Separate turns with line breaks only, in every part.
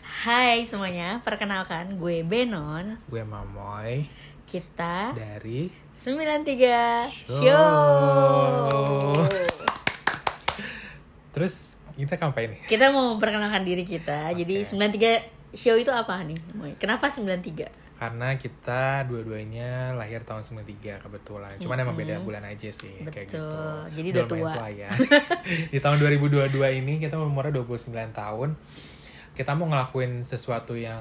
Hai semuanya, perkenalkan gue Benon.
Gue Mamoy
Kita
dari
93 Show.
Terus kita kampanye nih
Kita mau memperkenalkan diri kita. Jadi 93 Show itu apa nih? Moy? Kenapa 93?
Karena kita dua-duanya lahir tahun 93 kebetulan Cuman emang beda bulan aja sih kayak
Betul.
gitu
Jadi
Udah
udah
lumayan ya
tua.
Di tahun 2022 ini kita umurnya 29 tahun Kita mau ngelakuin sesuatu yang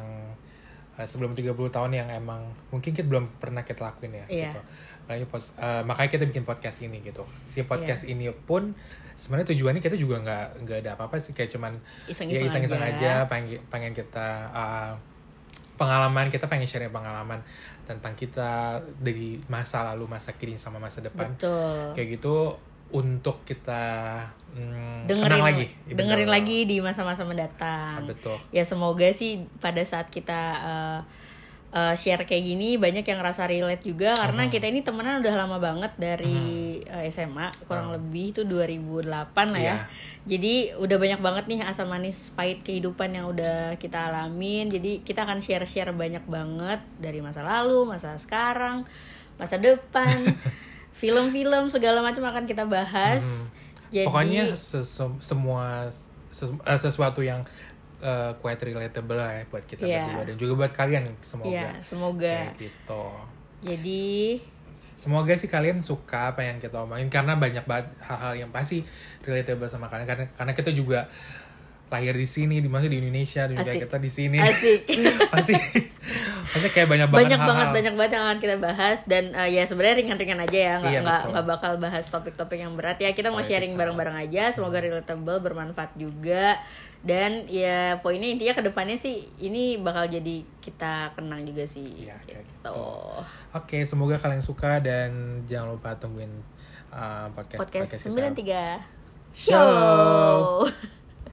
eh, sebelum 30 tahun yang emang mungkin kita belum pernah kita lakuin ya
Iya.
gitu makanya, pos- eh, makanya kita bikin podcast ini gitu si podcast
Iya.
ini pun sebenarnya tujuannya kita juga nggak nggak ada apa-apa sih kayak cuman
Iseng-iseng
ya, iseng-iseng
aja.
aja. pengen pengen kita uh, pengalaman kita pengen share pengalaman tentang kita dari masa lalu masa kini sama masa depan
Betul.
kayak gitu untuk kita mm,
Dengerin
kenang lagi Ya,
dengerin
betul.
lagi di masa-masa
Ah,
mendatang.
betul
ya semoga sih pada saat kita uh, uh, share kayak gini banyak yang ngerasa relate juga karena
Mm-hmm.
kita ini temenan udah lama banget dari uh, SMA kurang lebih itu 2008 lah
Mm-hmm. Iya.
ya jadi udah banyak banget nih asam manis pahit kehidupan yang udah kita alamin jadi kita akan share share banyak banget dari masa lalu masa sekarang masa depan film-film segala macam akan kita bahas
Mm-hmm.
jadi
pokoknya sesu- semua sesu- eh, sesuatu yang eh, quite relatable lah ya buat kita
Iya.
berdua dan juga buat kalian semoga
ya semoga
kayak gitu
jadi
Semoga sih kalian suka apa yang kita omongin karena banyak banget hal-hal yang pasti relatable sama kalian karena karena kita juga lahir di sini, dimaksud di Indonesia, di negara
Asik.
kita di sini.
asik
Pasti pasti kayak banyak banget
banyak
hal-hal.
banget banyak banget yang akan kita bahas dan eh, ya sebenarnya ringan-ringan aja ya nggak
Iya,
nggak
betul.
nggak bakal bahas topik-topik yang berat ya kita mau
Politik
sharing
sama.
bareng-bareng aja semoga relatable bermanfaat juga dan ya poinnya intinya kedepannya sih ini bakal jadi kita kenang juga sih
Iya, kayak
gitu.
gitu. Oke, semoga kalian suka dan jangan lupa tungguin uh, podcast
podcast
kita.
93
Show.
show